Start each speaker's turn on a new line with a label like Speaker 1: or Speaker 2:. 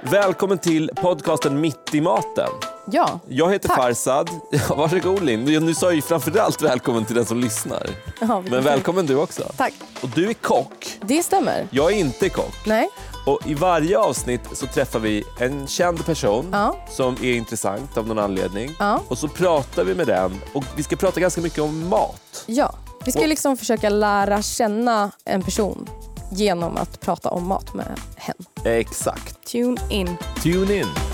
Speaker 1: Välkommen till podcasten Mitt i maten.
Speaker 2: Ja,
Speaker 1: Jag heter
Speaker 2: Tack.
Speaker 1: Farsad. Ja, varsågod Linn. Nu sa jag ju framförallt välkommen till den som lyssnar.
Speaker 2: Ja,
Speaker 1: Men välkommen du också.
Speaker 2: tack.
Speaker 1: Och du är kock.
Speaker 2: Det stämmer.
Speaker 1: Jag är inte kock.
Speaker 2: Nej,
Speaker 1: Och I varje avsnitt så träffar vi en känd person
Speaker 2: Ja.
Speaker 1: som är intressant av någon anledning.
Speaker 2: Ja.
Speaker 1: Och så pratar vi med den. Och Vi ska prata ganska mycket om mat.
Speaker 2: ja. Vi ska ju liksom försöka lära känna en person genom att prata om mat med hen.
Speaker 1: Exakt.
Speaker 2: Tune in.
Speaker 1: Tune in.